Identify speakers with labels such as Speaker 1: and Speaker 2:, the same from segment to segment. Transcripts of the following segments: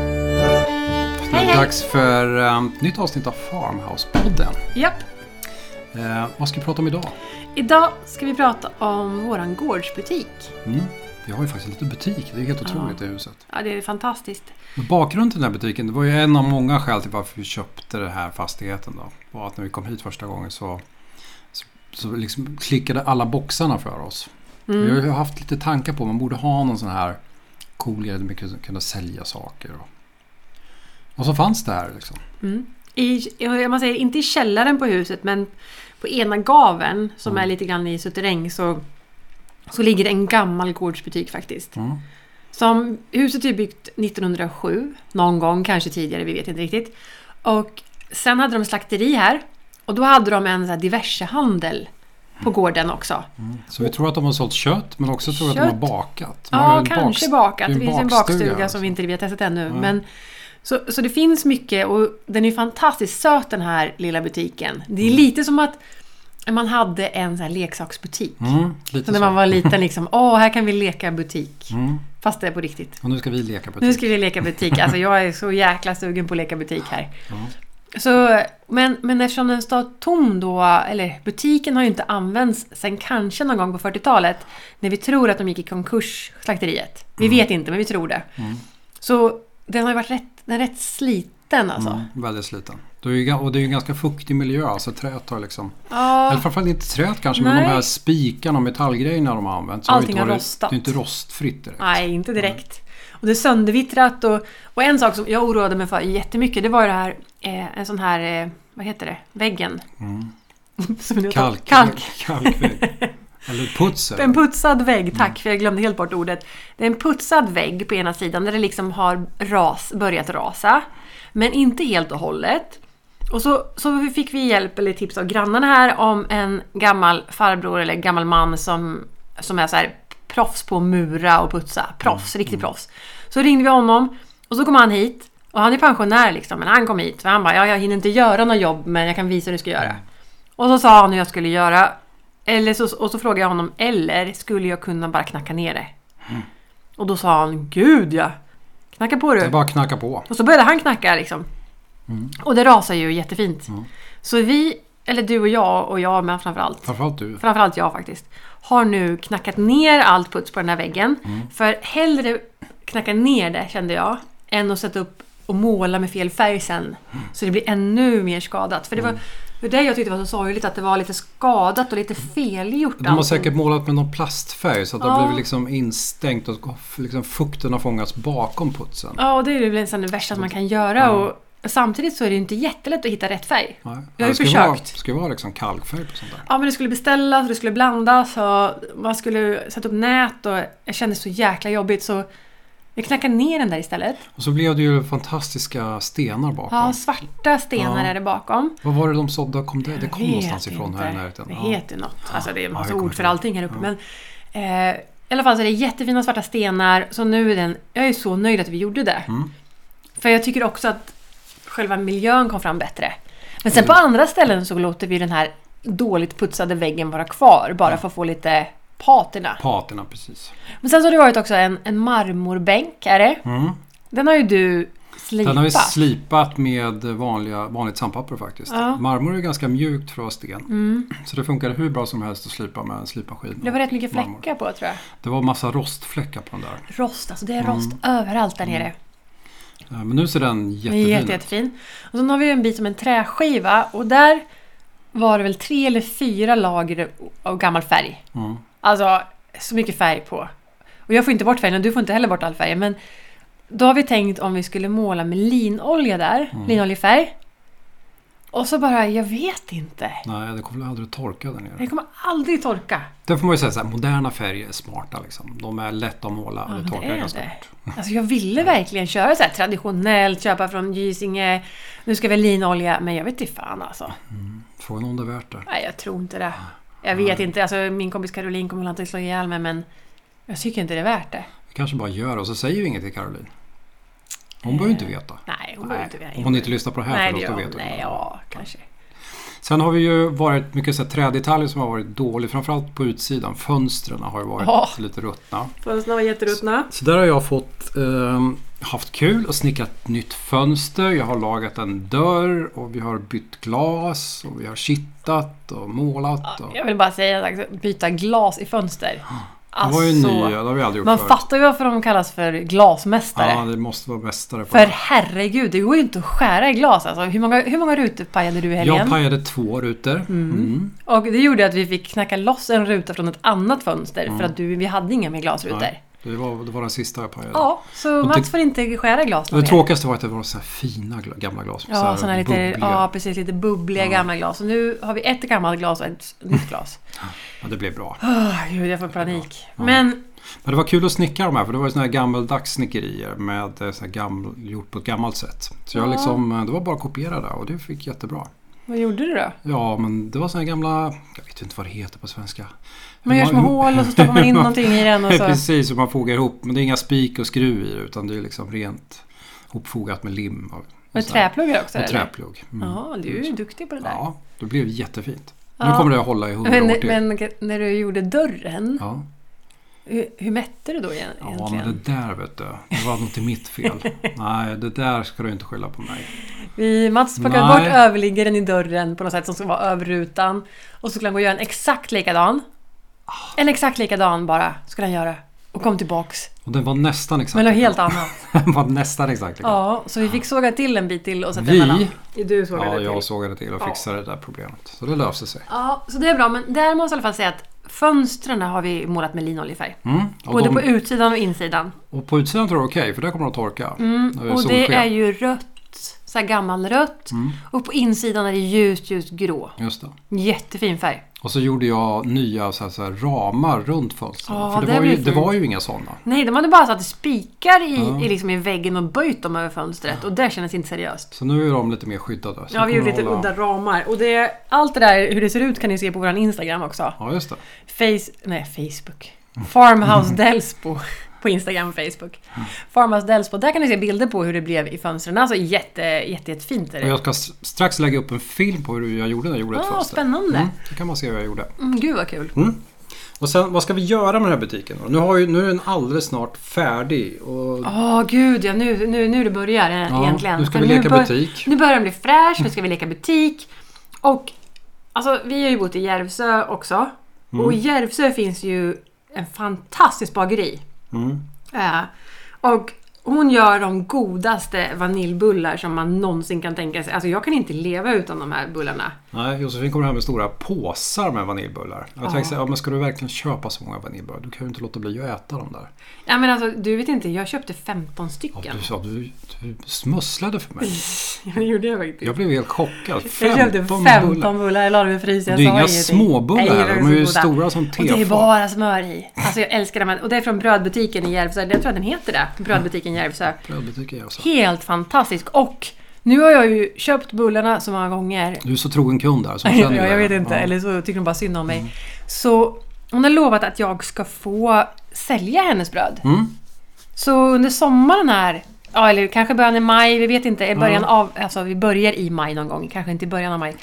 Speaker 1: Det
Speaker 2: Hej,
Speaker 1: är
Speaker 2: hej.
Speaker 1: dags för eh, ett nytt avsnitt av Farmhouse-podden.
Speaker 2: Japp.
Speaker 1: Eh, vad ska vi prata om idag?
Speaker 2: Idag ska vi prata om våran gårdsbutik.
Speaker 1: Mm. Vi har ju faktiskt en liten butik. Det är helt otroligt i huset.
Speaker 2: Ja, det är fantastiskt.
Speaker 1: Men Bakgrunden till den här butiken, det var ju en av många skäl till varför vi köpte den här fastigheten. Då. Var att när vi kom hit första gången så, så, så liksom klickade alla boxarna för oss.
Speaker 2: Mm.
Speaker 1: Vi har ju haft lite tankar på att man borde ha någon sån här cool grej där man kunde kunna sälja saker. Och, och så fanns det här liksom.
Speaker 2: Mm. I, i- om man säger, inte i källaren på huset, men på ena gaven som
Speaker 1: Mm.
Speaker 2: är lite grann i suterräng så, så ligger det en gammal gårdsbutik faktiskt.
Speaker 1: Mm.
Speaker 2: Som, huset är ju byggt 1907, någon gång, kanske tidigare, vi vet inte riktigt. Och sen hade de slakteri här och då hade de en så här diversehandel på gården också.
Speaker 1: Mm. Så vi tror att de har sålt kött men också tror att de
Speaker 2: Kött?
Speaker 1: har bakat. De har ju
Speaker 2: Ja,
Speaker 1: en
Speaker 2: kanske
Speaker 1: bakst-
Speaker 2: bakat.
Speaker 1: det är
Speaker 2: Det
Speaker 1: en
Speaker 2: finns en
Speaker 1: bakstuga
Speaker 2: bakstuga
Speaker 1: alltså.
Speaker 2: som vi inte vi har testat ännu.
Speaker 1: Nej.
Speaker 2: Men, så, så det finns mycket och den är fantastiskt söt den här lilla butiken. Det är
Speaker 1: Mm.
Speaker 2: lite som att man hade en sån här leksaksbutik.
Speaker 1: Mm, lite
Speaker 2: Så när
Speaker 1: så.
Speaker 2: man var liten liksom, åh här kan vi leka butik.
Speaker 1: Mm.
Speaker 2: Fast det är på riktigt.
Speaker 1: Och nu ska vi leka butik.
Speaker 2: Nu ska vi leka butik. Alltså jag är så jäkla sugen på att leka butik här.
Speaker 1: Ja.
Speaker 2: Så, men, men eftersom den står tom då, eller butiken har ju inte använts sen kanske någon gång på 40-talet. När vi tror att de gick i konkurs, slakteriet. Vi
Speaker 1: Mm.
Speaker 2: vet inte, men vi tror det. Så den har ju varit rätt, den är rätt sliten alltså.
Speaker 1: Mm, väldigt sliten. Det är ju, ga- och det är ju en ganska fuktig miljö, så träet har liksom...
Speaker 2: Ja,
Speaker 1: Eller framförallt inte träet kanske, men
Speaker 2: Nej.
Speaker 1: de här spikarna och metallgrejerna de har använt. så
Speaker 2: Allting
Speaker 1: ju inte
Speaker 2: har
Speaker 1: varit-
Speaker 2: rostat.
Speaker 1: Det är inte rostfritt direkt.
Speaker 2: nej, inte direkt. Och det är söndervittrat och, och en sak som jag oroade mig för jättemycket, det var ju det här, eh, en sån här, eh, vad heter det, väggen. Som nu tar-
Speaker 1: Mm. Kalk.
Speaker 2: Kalk.
Speaker 1: Kalkvägg. Eller putsel.
Speaker 2: En putsad vägg, tack för jag glömde helt bort ordet. Det är en putsad vägg på ena sidan där det liksom har ras, börjat rasa. Men inte helt och hållet. Och så, så fick vi hjälp eller tips av grannarna här om en gammal farbror eller gammal man som, som är så här proffs på att mura och putsa. Proffs, riktigt proffs. Så ringde vi honom och så kom han hit. Och han är pensionär liksom, men han kom hit för han bara ja, jag hinner inte göra något jobb men jag kan visa hur du ska göra. Och så sa han hur jag skulle göra. Eller så, och så frågade jag honom, eller skulle jag kunna bara knacka ner det? Och då sa han, gud ja! Knacka på
Speaker 1: Det
Speaker 2: du!
Speaker 1: är bara att knacka på.
Speaker 2: Och så började han knacka liksom. Och det rasar ju jättefint. Så vi, eller du och jag och jag men framförallt.
Speaker 1: Framförallt du.
Speaker 2: Framförallt jag faktiskt. Har nu knackat ner allt puts på den här väggen. För hellre knacka ner det kände jag. Än att sätta upp och måla med fel färg sen. Så det blir ännu mer skadat. För det var det var det jag tyckte var så sorgligt. Att det var lite skadat och lite felgjort.
Speaker 1: De har
Speaker 2: allting.
Speaker 1: säkert målat med någon plastfärg så att det
Speaker 2: Ja.
Speaker 1: har blivit liksom instängt och liksom fukten har fångats bakom putsen.
Speaker 2: Ja, och det är ju väl sen det värsta som man kan göra. Och samtidigt så är det ju inte jättelätt att hitta rätt färg.
Speaker 1: Nej.
Speaker 2: Jag har
Speaker 1: det
Speaker 2: ju
Speaker 1: ska ju vara,
Speaker 2: försökt.
Speaker 1: ska ju vara liksom kalkfärg på sånt där.
Speaker 2: Ja men det skulle beställas, det skulle blandas och man skulle sätta upp nät och jag kände så jäkla jobbigt så vi knackade ner den där istället.
Speaker 1: Och så blev det ju fantastiska stenar bakom.
Speaker 2: Ja, svarta stenar
Speaker 1: Ja.
Speaker 2: är det bakom.
Speaker 1: Vad var det de sådde? Kom det, det kom
Speaker 2: Jag
Speaker 1: någonstans
Speaker 2: vet
Speaker 1: ifrån
Speaker 2: inte.
Speaker 1: här i närheten.
Speaker 2: Det
Speaker 1: Ja.
Speaker 2: heter ju något. Alltså det är en
Speaker 1: Ja,
Speaker 2: massa
Speaker 1: jag kommer
Speaker 2: ord för
Speaker 1: inte ihåg.
Speaker 2: allting här uppe. Men, eh, I alla fall så är det jättefina svarta stenar. Så nu är den... Jag är så nöjd att vi gjorde det.
Speaker 1: Mm.
Speaker 2: För jag tycker också att själva miljön kom fram bättre. Men sen på
Speaker 1: Mm.
Speaker 2: andra ställen så låter vi den här dåligt putsade väggen vara kvar. Bara för att få lite patina.
Speaker 1: Paterna, precis.
Speaker 2: Men sen så har det varit också en, en marmorbänk. Är det?
Speaker 1: Mm.
Speaker 2: Den har ju du slipat.
Speaker 1: Den har vi slipat med vanliga, vanligt sandpapper faktiskt.
Speaker 2: Ja.
Speaker 1: Marmor är ganska mjukt för att vara sten. Så det funkade hur bra som helst att slipa med en slipmaskin.
Speaker 2: Mm. Det var rätt mycket
Speaker 1: och marmor.
Speaker 2: fläckar på tror jag.
Speaker 1: Det var massa rostfläckar på den där.
Speaker 2: Rost, alltså det är rost överallt där
Speaker 1: Mm.
Speaker 2: nere.
Speaker 1: Eh, Men nu ser den
Speaker 2: Den är
Speaker 1: jättefin
Speaker 2: jätte,
Speaker 1: ut.
Speaker 2: jättefin. Och sen har vi en bit som en träskiva och där var det väl tre eller fyra lager av gammal färg.
Speaker 1: Mm.
Speaker 2: Alltså, så mycket färg på. Och jag får inte bort färgen och du får inte heller bort all färg. Men då har vi tänkt om vi skulle måla med linolja där,
Speaker 1: Mm.
Speaker 2: linoljefärg. Och så bara, jag vet inte.
Speaker 1: Nej, det kommer väl aldrig att torka där nere.
Speaker 2: Det kommer aldrig torka.
Speaker 1: Det får man ju säga, så här, moderna färger är smarta. Liksom. De är lätta att måla och
Speaker 2: men
Speaker 1: det
Speaker 2: det
Speaker 1: torkar
Speaker 2: är
Speaker 1: ganska
Speaker 2: det.
Speaker 1: fort.
Speaker 2: Alltså jag ville verkligen köra så här traditionellt, köpa från Gysinge. Nu ska vi ha linolja, men jag vet inte fan alltså.
Speaker 1: Frågan om det är värt det.
Speaker 2: Nej, jag tror inte det. Jag vet inte. Alltså, min kompis Caroline kommer väl antagligen slå ihjäl mig, men jag tycker inte det är värt det.
Speaker 1: Vi kanske bara gör det och så säger vi inget till Caroline. Hon behöver inte veta.
Speaker 2: Eh, Nej, hon behöver inte veta.
Speaker 1: Om hon inte lyssnar på det här
Speaker 2: Nej, det
Speaker 1: förstås,
Speaker 2: gör
Speaker 1: då
Speaker 2: hon.
Speaker 1: vet hon.
Speaker 2: Nej, ja, kanske.
Speaker 1: Sen har vi ju varit mycket så här trädetaljer som har varit dålig. Framförallt på utsidan. Fönstren har ju varit
Speaker 2: Ja.
Speaker 1: lite ruttna.
Speaker 2: Fönstren var jätteruttna.
Speaker 1: Så där har jag fått ehm, haft kul och snickrat nytt fönster. Jag har lagat en dörr och vi har bytt glas och vi har kittat och målat. Och...
Speaker 2: Jag vill bara säga att alltså, byta glas i fönster. Alltså,
Speaker 1: Det var ju nya, det har vi aldrig gjort
Speaker 2: man
Speaker 1: förut.
Speaker 2: fattar ju varför de kallas för glasmästare.
Speaker 1: Ja, det måste vara mästare på
Speaker 2: För
Speaker 1: det.
Speaker 2: herregud, det går ju inte att skära i glas alltså. Hur många, hur många rutor pajade du i helgen?
Speaker 1: Jag pajade två rutor. Mm.
Speaker 2: Och det gjorde att vi fick knacka loss en ruta från ett annat fönster för att du, vi hade inga mer glasrutor.
Speaker 1: Mm. Nej, det, var, det var den sista jag pajade.
Speaker 2: Ja, så
Speaker 1: det-
Speaker 2: Mats får inte skära glas
Speaker 1: Det
Speaker 2: något mer.
Speaker 1: tråkigaste var att det var så här fina gla- gamla glas. så
Speaker 2: Ja,
Speaker 1: här
Speaker 2: såna här lite,
Speaker 1: bubbliga.
Speaker 2: ja, precis, lite bubbliga gamla glas. Och nu har vi ett gammalt glas och ett nytt glas.
Speaker 1: Ja, det blev bra.
Speaker 2: Oh, gud, jag får panik. Men
Speaker 1: Men det var kul att snickra de här för det var ju såna här gammaldags snickerier med eh, så här gammal, gjort på ett gammalt sätt. Så jag
Speaker 2: Ja.
Speaker 1: liksom, eh, det var bara att kopiera det och det fick jättebra.
Speaker 2: vad gjorde du då?
Speaker 1: Ja, men det var såna här gamla, jag vet inte vad det heter på svenska.
Speaker 2: Man gör små hål och så stoppar man in någonting i den och så...
Speaker 1: Precis, hur man fogar ihop. Men det är inga spik och skruv i det utan det är liksom rent hopfogat med lim. Och, och
Speaker 2: Med
Speaker 1: sådär.
Speaker 2: träpluggar också
Speaker 1: Och
Speaker 2: eller?
Speaker 1: träplugg. Mm.
Speaker 2: Ja, du är ju duktig på det där.
Speaker 1: Ja, det blev jättefint. Nu
Speaker 2: Ja.
Speaker 1: kommer det att hålla i hundra
Speaker 2: Men,
Speaker 1: år till.
Speaker 2: men när du gjorde dörren,
Speaker 1: ja.
Speaker 2: hur, hur mätte du då igen-
Speaker 1: ja,
Speaker 2: egentligen?
Speaker 1: men det där vet du. Det var nog inte mitt fel. Nej, det där ska du inte skylla på mig.
Speaker 2: Vi, Mats plockade
Speaker 1: Nej.
Speaker 2: bort överliggaren i dörren på något sätt som skulle vara över rutan. Och så skulle han gå och göra en exakt likadan.
Speaker 1: Ah.
Speaker 2: En exakt likadan bara, skulle han göra. Och kom tillbaks.
Speaker 1: Och den var nästan exakt
Speaker 2: Men något helt
Speaker 1: likadan.
Speaker 2: annat.
Speaker 1: Den var nästan exakt likadan.
Speaker 2: Ja, så vi fick såga till en bit till och sätta
Speaker 1: Vi?
Speaker 2: emellan. Du sågade
Speaker 1: Ja,
Speaker 2: till.
Speaker 1: jag sågade till och
Speaker 2: Ja.
Speaker 1: fixade det där problemet. Så det löste sig.
Speaker 2: Ja, så det är bra. Men där måste jag i alla fall säga att fönstren har vi målat med linoljefärg.
Speaker 1: Mm. Och,
Speaker 2: Både på
Speaker 1: de,
Speaker 2: utsidan och insidan.
Speaker 1: och på utsidan tror jag det är okej, för där kommer de att torka.
Speaker 2: Mm.
Speaker 1: När
Speaker 2: och det
Speaker 1: solsken. Mm.
Speaker 2: är ju rött. Så här gammalrött. Och på insidan är det ljust, ljust grå.
Speaker 1: Just det.
Speaker 2: Jättefin färg.
Speaker 1: Och så gjorde jag nya så här, så här, ramar runt fönstren. för
Speaker 2: Ja,
Speaker 1: det,
Speaker 2: det
Speaker 1: var
Speaker 2: blir
Speaker 1: ju, det
Speaker 2: fint.
Speaker 1: var ju inga sådana.
Speaker 2: Nej, de hade bara satt spikar i, i, liksom i väggen och böjt dem över fönstret och det kändes inte seriöst.
Speaker 1: Så nu är de lite mer skyddade. Så
Speaker 2: Ja, vi
Speaker 1: kommer de
Speaker 2: gjorde lite
Speaker 1: hålla-
Speaker 2: udda ramar. Och det, allt det där, hur det ser ut kan ni se på vår Instagram också.
Speaker 1: Ja, just det.
Speaker 2: Face... Nej, Facebook.
Speaker 1: Mm.
Speaker 2: Farmhouse Delsbo. På Instagram och Facebook. Farmhouse Delsbo. Där kan ni se bilder på hur det blev i fönstren. Alltså jätte, jätte, jättefint är
Speaker 1: Och
Speaker 2: det.
Speaker 1: jag ska s- strax lägga upp en film på hur jag gjorde när jag gjorde ett
Speaker 2: Ah,
Speaker 1: fönster.
Speaker 2: spännande.
Speaker 1: Mm, då kan man se hur jag gjorde.
Speaker 2: Mm, gud vad kul.
Speaker 1: Och sen, vad ska vi göra med den här butiken? då? Nu, har ju, nu är den alldeles snart färdig. Och,
Speaker 2: Åh gud ja, nu, nu, nu det börjar eh,
Speaker 1: Ja,
Speaker 2: egentligen.
Speaker 1: nu ska
Speaker 2: För
Speaker 1: vi leka
Speaker 2: bör-
Speaker 1: butik.
Speaker 2: Nu börjar den bli fräsch, nu ska vi leka butik. Och alltså, vi har ju bott i Järvsö också. Och
Speaker 1: Mm.
Speaker 2: i Järvsö finns ju en fantastisk bageri.
Speaker 1: Mm.
Speaker 2: Eh, och hon gör de godaste vaniljbullar som man någonsin kan tänka sig. Alltså jag kan inte leva utan de här bullarna.
Speaker 1: Nej, Josefin kommer hem med stora påsar med vaniljbullar. Jag tänkte säga, ja, men ska du verkligen köpa så många vaniljbullar? Du kan ju inte låta bli att äta dem där.
Speaker 2: Ja men alltså du vet inte, jag köpte 15
Speaker 1: Ja,
Speaker 2: stycken.
Speaker 1: du sa, du, du smusslade för mig.
Speaker 2: Det gjorde jag faktiskt.
Speaker 1: Jag blev helt chockad. 15
Speaker 2: Jag köpte 15 bullar, jag la dem i frysen.
Speaker 1: Det är
Speaker 2: jag
Speaker 1: ju
Speaker 2: sa
Speaker 1: inga
Speaker 2: ingenting.
Speaker 1: småbullar
Speaker 2: Nej, det var
Speaker 1: heller, de
Speaker 2: så
Speaker 1: är ju stora
Speaker 2: goda.
Speaker 1: som
Speaker 2: Och det är
Speaker 1: tefat.
Speaker 2: bara smör i. Alltså jag älskar dem. här. Och det är från brödbutiken i Järvsö. Jag tror att den heter det. Brödbutiken i Järvsö.
Speaker 1: Brödbutiken gör så.
Speaker 2: Helt fantastisk. Och nu har jag ju köpt bullarna så många gånger.
Speaker 1: Du är så trogen kund där. Så
Speaker 2: Ja,
Speaker 1: känner du
Speaker 2: jag
Speaker 1: det.
Speaker 2: vet inte.
Speaker 1: Ja.
Speaker 2: Eller så tycker de bara synd om mig. Så hon har lovat att jag ska få sälja hennes bröd.
Speaker 1: Mm.
Speaker 2: Så under sommaren här, ja, eller kanske början i maj, vi vet inte. I början
Speaker 1: Ja.
Speaker 2: av, alltså vi börjar i maj någon gång, kanske inte i början av maj.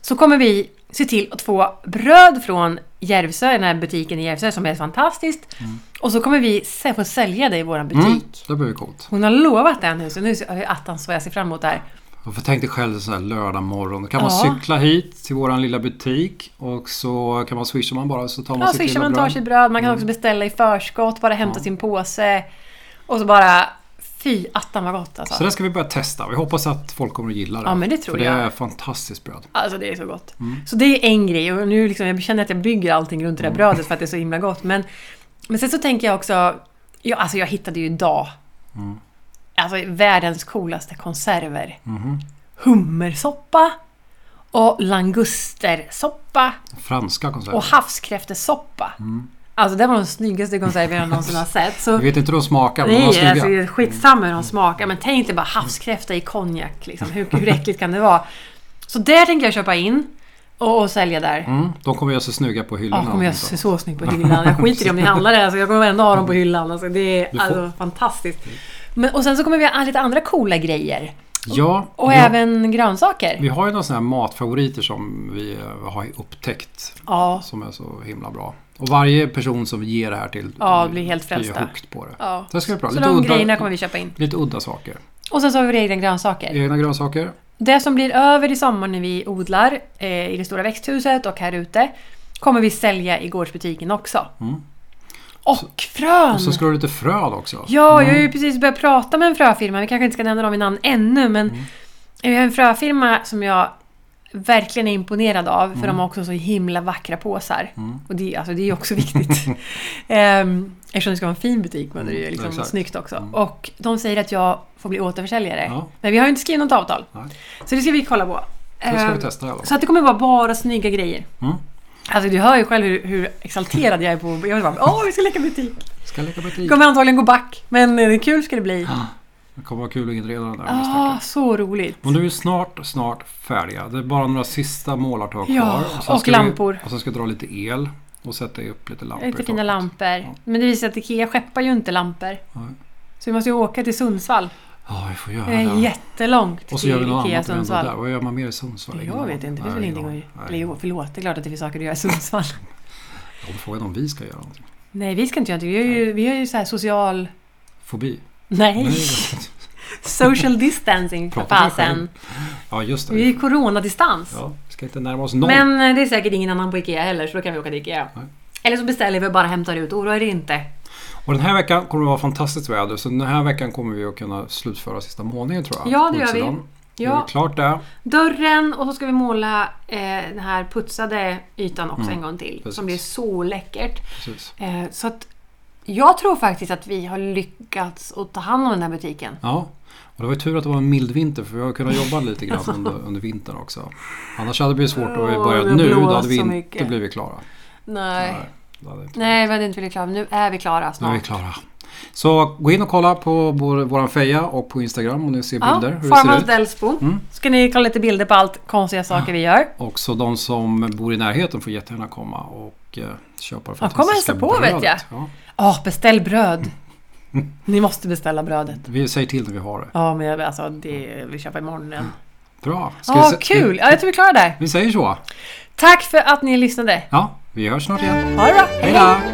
Speaker 2: Så kommer vi se till att få bröd från Järvsö, den här butiken i Järvsö som är fantastiskt. Och så kommer vi se- få sälja det i vår butik.
Speaker 1: Mm, det blir ju coolt.
Speaker 2: Hon har lovat det nu, så nu ser jag attans vad jag ser fram emot där.
Speaker 1: Och för tänk dig själv så här lördag morgon. Då kan man
Speaker 2: Ja.
Speaker 1: cykla hit till våran lilla butik. Och så kan man swisha man bara så tar man
Speaker 2: Ja,
Speaker 1: sitt
Speaker 2: swishar
Speaker 1: lilla
Speaker 2: man tar
Speaker 1: bröd.
Speaker 2: sitt bröd. Man kan också beställa i förskott, bara hämta sin påse. Och så bara, fy attan vad gott alltså.
Speaker 1: Så det ska vi börja testa. Vi hoppas att folk kommer att gilla det.
Speaker 2: Ja, men det tror
Speaker 1: För det
Speaker 2: jag.
Speaker 1: är fantastiskt bröd.
Speaker 2: Alltså det är så gott. Så det är en grej och nu liksom, jag känner att jag bygger allting runt det där brödet för att det är så himla gott. Men, men sen så tänker jag också, ja, alltså jag hittade ju idag alltså, världens coolaste konserver.
Speaker 1: Mhm.
Speaker 2: Hummersoppa och langustersoppa
Speaker 1: Franska konserter.
Speaker 2: och havskräftesoppa. Alltså det var de snyggaste konserver jag någonsin har sett. Så
Speaker 1: Jag vet inte hur de smakar, men de var
Speaker 2: Nej,
Speaker 1: snygga.
Speaker 2: alltså, det är skitsamma hur de smakar. Men tänk dig bara havskräfta i konjak. Liksom. Hur, hur äckligt kan det vara? Så där tänker jag köpa in och, och sälja där.
Speaker 1: mm, de kommer göra sig snygga på
Speaker 2: Ja,
Speaker 1: hyllorna.
Speaker 2: kommer jag
Speaker 1: också.
Speaker 2: se så snygg på hyllan. Jag skiter i om ni handlar det. Alltså, jag kommer ändå ha dem på hyllan. Alltså, det är
Speaker 1: får-
Speaker 2: alltså, fantastiskt. Men, och sen så kommer vi ha lite andra coola grejer.
Speaker 1: Ja,
Speaker 2: Och
Speaker 1: vi,
Speaker 2: även grönsaker.
Speaker 1: vi har ju några sådana här matfavoriter som vi eh, har upptäckt
Speaker 2: Ja.
Speaker 1: som är så himla bra. Och varje person som vi ger det här till
Speaker 2: Ja,
Speaker 1: eh,
Speaker 2: blir helt frälsta.
Speaker 1: hooked på det.
Speaker 2: ja.
Speaker 1: Så det ska bli bra.
Speaker 2: Så
Speaker 1: Lite
Speaker 2: de
Speaker 1: udda,
Speaker 2: grejerna kommer vi köpa in.
Speaker 1: lite udda saker.
Speaker 2: Och sen så har vi våra egna grönsaker.
Speaker 1: Egna grönsaker.
Speaker 2: Det som blir över i sommar när vi odlar eh, i det stora växthuset och här ute kommer vi sälja i gårdsbutiken också.
Speaker 1: Mm.
Speaker 2: Och frön!
Speaker 1: Och så ska du ha lite fröd också. Mm.
Speaker 2: Ja, jag har ju precis börjat prata med en fröfirma. Vi kanske inte ska nämna dem i namn ännu, men
Speaker 1: Mm.
Speaker 2: vi har en fröfirma som jag verkligen är imponerad av, för
Speaker 1: Mm.
Speaker 2: de har också så himla vackra påsar. Och det, alltså, det är ju också viktigt. Ehm, eftersom det ska vara en fin butik, men det är ju
Speaker 1: Mm,
Speaker 2: liksom
Speaker 1: exakt.
Speaker 2: snyggt också. Och de säger att jag får bli återförsäljare.
Speaker 1: Ja.
Speaker 2: Men vi har ju inte skrivit något avtal.
Speaker 1: Nej.
Speaker 2: Så det ska vi kolla på.
Speaker 1: Det ska
Speaker 2: Ehm,
Speaker 1: vi testa i alla fall.
Speaker 2: så att det kommer vara bara snygga grejer.
Speaker 1: Mm.
Speaker 2: Alltså du hör ju själv hur, hur exalterad jag är på... Jag vill bara, åh vi ska leka butik!
Speaker 1: Ska lägga på ett
Speaker 2: Det
Speaker 1: lik.
Speaker 2: kommer antagligen gå back, men eh, kul ska det bli.
Speaker 1: Det kommer vara kul att inreda den där
Speaker 2: Ah,
Speaker 1: misstänker
Speaker 2: så roligt.
Speaker 1: Men du är snart, snart färdiga. Det är bara några sista målartag
Speaker 2: Ja,
Speaker 1: kvar. sen
Speaker 2: och
Speaker 1: ska
Speaker 2: lampor.
Speaker 1: Vi, och sen ska jag dra lite el och sätta upp lite lampor.
Speaker 2: Lite
Speaker 1: i
Speaker 2: fina
Speaker 1: taket.
Speaker 2: lampor. Men det visar sig att Ikea skeppar ju inte lampor.
Speaker 1: Nej.
Speaker 2: Så vi måste ju åka till Sundsvall.
Speaker 1: Ja, vi får göra
Speaker 2: Det är
Speaker 1: det.
Speaker 2: jättelångt
Speaker 1: Och så
Speaker 2: till
Speaker 1: gör vi något
Speaker 2: Ikea
Speaker 1: annat ändå där.
Speaker 2: Sundsvall.
Speaker 1: Vad gör man mer i Sundsvall? Ingen
Speaker 2: Jag
Speaker 1: aning.
Speaker 2: vet inte, det finns
Speaker 1: Nej,
Speaker 2: väl
Speaker 1: ingen
Speaker 2: ingenting att
Speaker 1: aning.
Speaker 2: göra.
Speaker 1: Nej.
Speaker 2: Eller jo, förlåt, det är klart att det finns saker att göra i Sundsvall.
Speaker 1: Jag har frågat om vi ska göra någonting.
Speaker 2: Nej, vi ska inte göra någonting. Vi har ju, vi har ju så här social...
Speaker 1: Fobi? Nej,
Speaker 2: Nej!
Speaker 1: jag vet inte.
Speaker 2: Social distancing för
Speaker 1: Prata för dig
Speaker 2: fasen.
Speaker 1: Ja, just
Speaker 2: Vi är
Speaker 1: det.
Speaker 2: ju coronadistans.
Speaker 1: Ja, vi ska inte närma oss noll.
Speaker 2: Men eh, det är säkert ingen annan på Ikea heller, så då kan vi åka till Ikea.
Speaker 1: Nej.
Speaker 2: Eller så beställer vi och bara hämtar ut. Oroa er inte.
Speaker 1: Och den här veckan kommer det vara fantastiskt väder. Så den här veckan kommer vi att kunna slutföra sista målningen tror jag.
Speaker 2: Ja, det
Speaker 1: på
Speaker 2: gör vi.
Speaker 1: utsidan.
Speaker 2: Ja.
Speaker 1: Gör vi klart det.
Speaker 2: Dörren och så ska vi måla eh, den här putsade ytan också
Speaker 1: Mm,
Speaker 2: en gång till.
Speaker 1: precis.
Speaker 2: Som blir så läckert.
Speaker 1: Precis.
Speaker 2: Eh, så att jag tror faktiskt att vi har lyckats att ta hand om den här butiken.
Speaker 1: Ja, och det var ju tur att det var en mild vinter för vi har kunnat jobba lite grann under, under vintern också. Annars hade det blivit svårt att
Speaker 2: Alltså. Åh,
Speaker 1: börja
Speaker 2: det
Speaker 1: nu. Då
Speaker 2: blåser
Speaker 1: hade vi
Speaker 2: så
Speaker 1: inte
Speaker 2: mycket.
Speaker 1: blivit klara.
Speaker 2: Nej.
Speaker 1: det hade inte-
Speaker 2: Nej, vi hade inte blivit klara. Men nu är vi klara
Speaker 1: Nu är vi
Speaker 2: snart.
Speaker 1: klara. Så gå in och kolla på vår, våran feja och på Instagram om ni ser
Speaker 2: Ja,
Speaker 1: bilder. hur det ser
Speaker 2: Farmhouse
Speaker 1: ut. Mm. Ah.
Speaker 2: Delsbo. Ska ni kolla lite bilder på allt konstiga saker vi gör.
Speaker 1: Och så de som bor i närheten får jättegärna komma och eh, köpa det
Speaker 2: Ja, kom och
Speaker 1: fantastiska
Speaker 2: hälsa på, vet
Speaker 1: brödet.
Speaker 2: jag.
Speaker 1: Ja,
Speaker 2: Ja, beställ bröd! Ni måste beställa brödet.
Speaker 1: vi säger till när vi har det.
Speaker 2: Ja, men jag, alltså, det vi köper imorgon igen.
Speaker 1: Bra. Ska
Speaker 2: Ja,
Speaker 1: vi, Mm. sä-
Speaker 2: kul!
Speaker 1: Vi,
Speaker 2: Ja, jag tror vi är klara där.
Speaker 1: vi säger så.
Speaker 2: Tack för att ni lyssnade.
Speaker 1: Ja, vi hörs snart igen.
Speaker 2: Ha det bra!
Speaker 1: Hej då!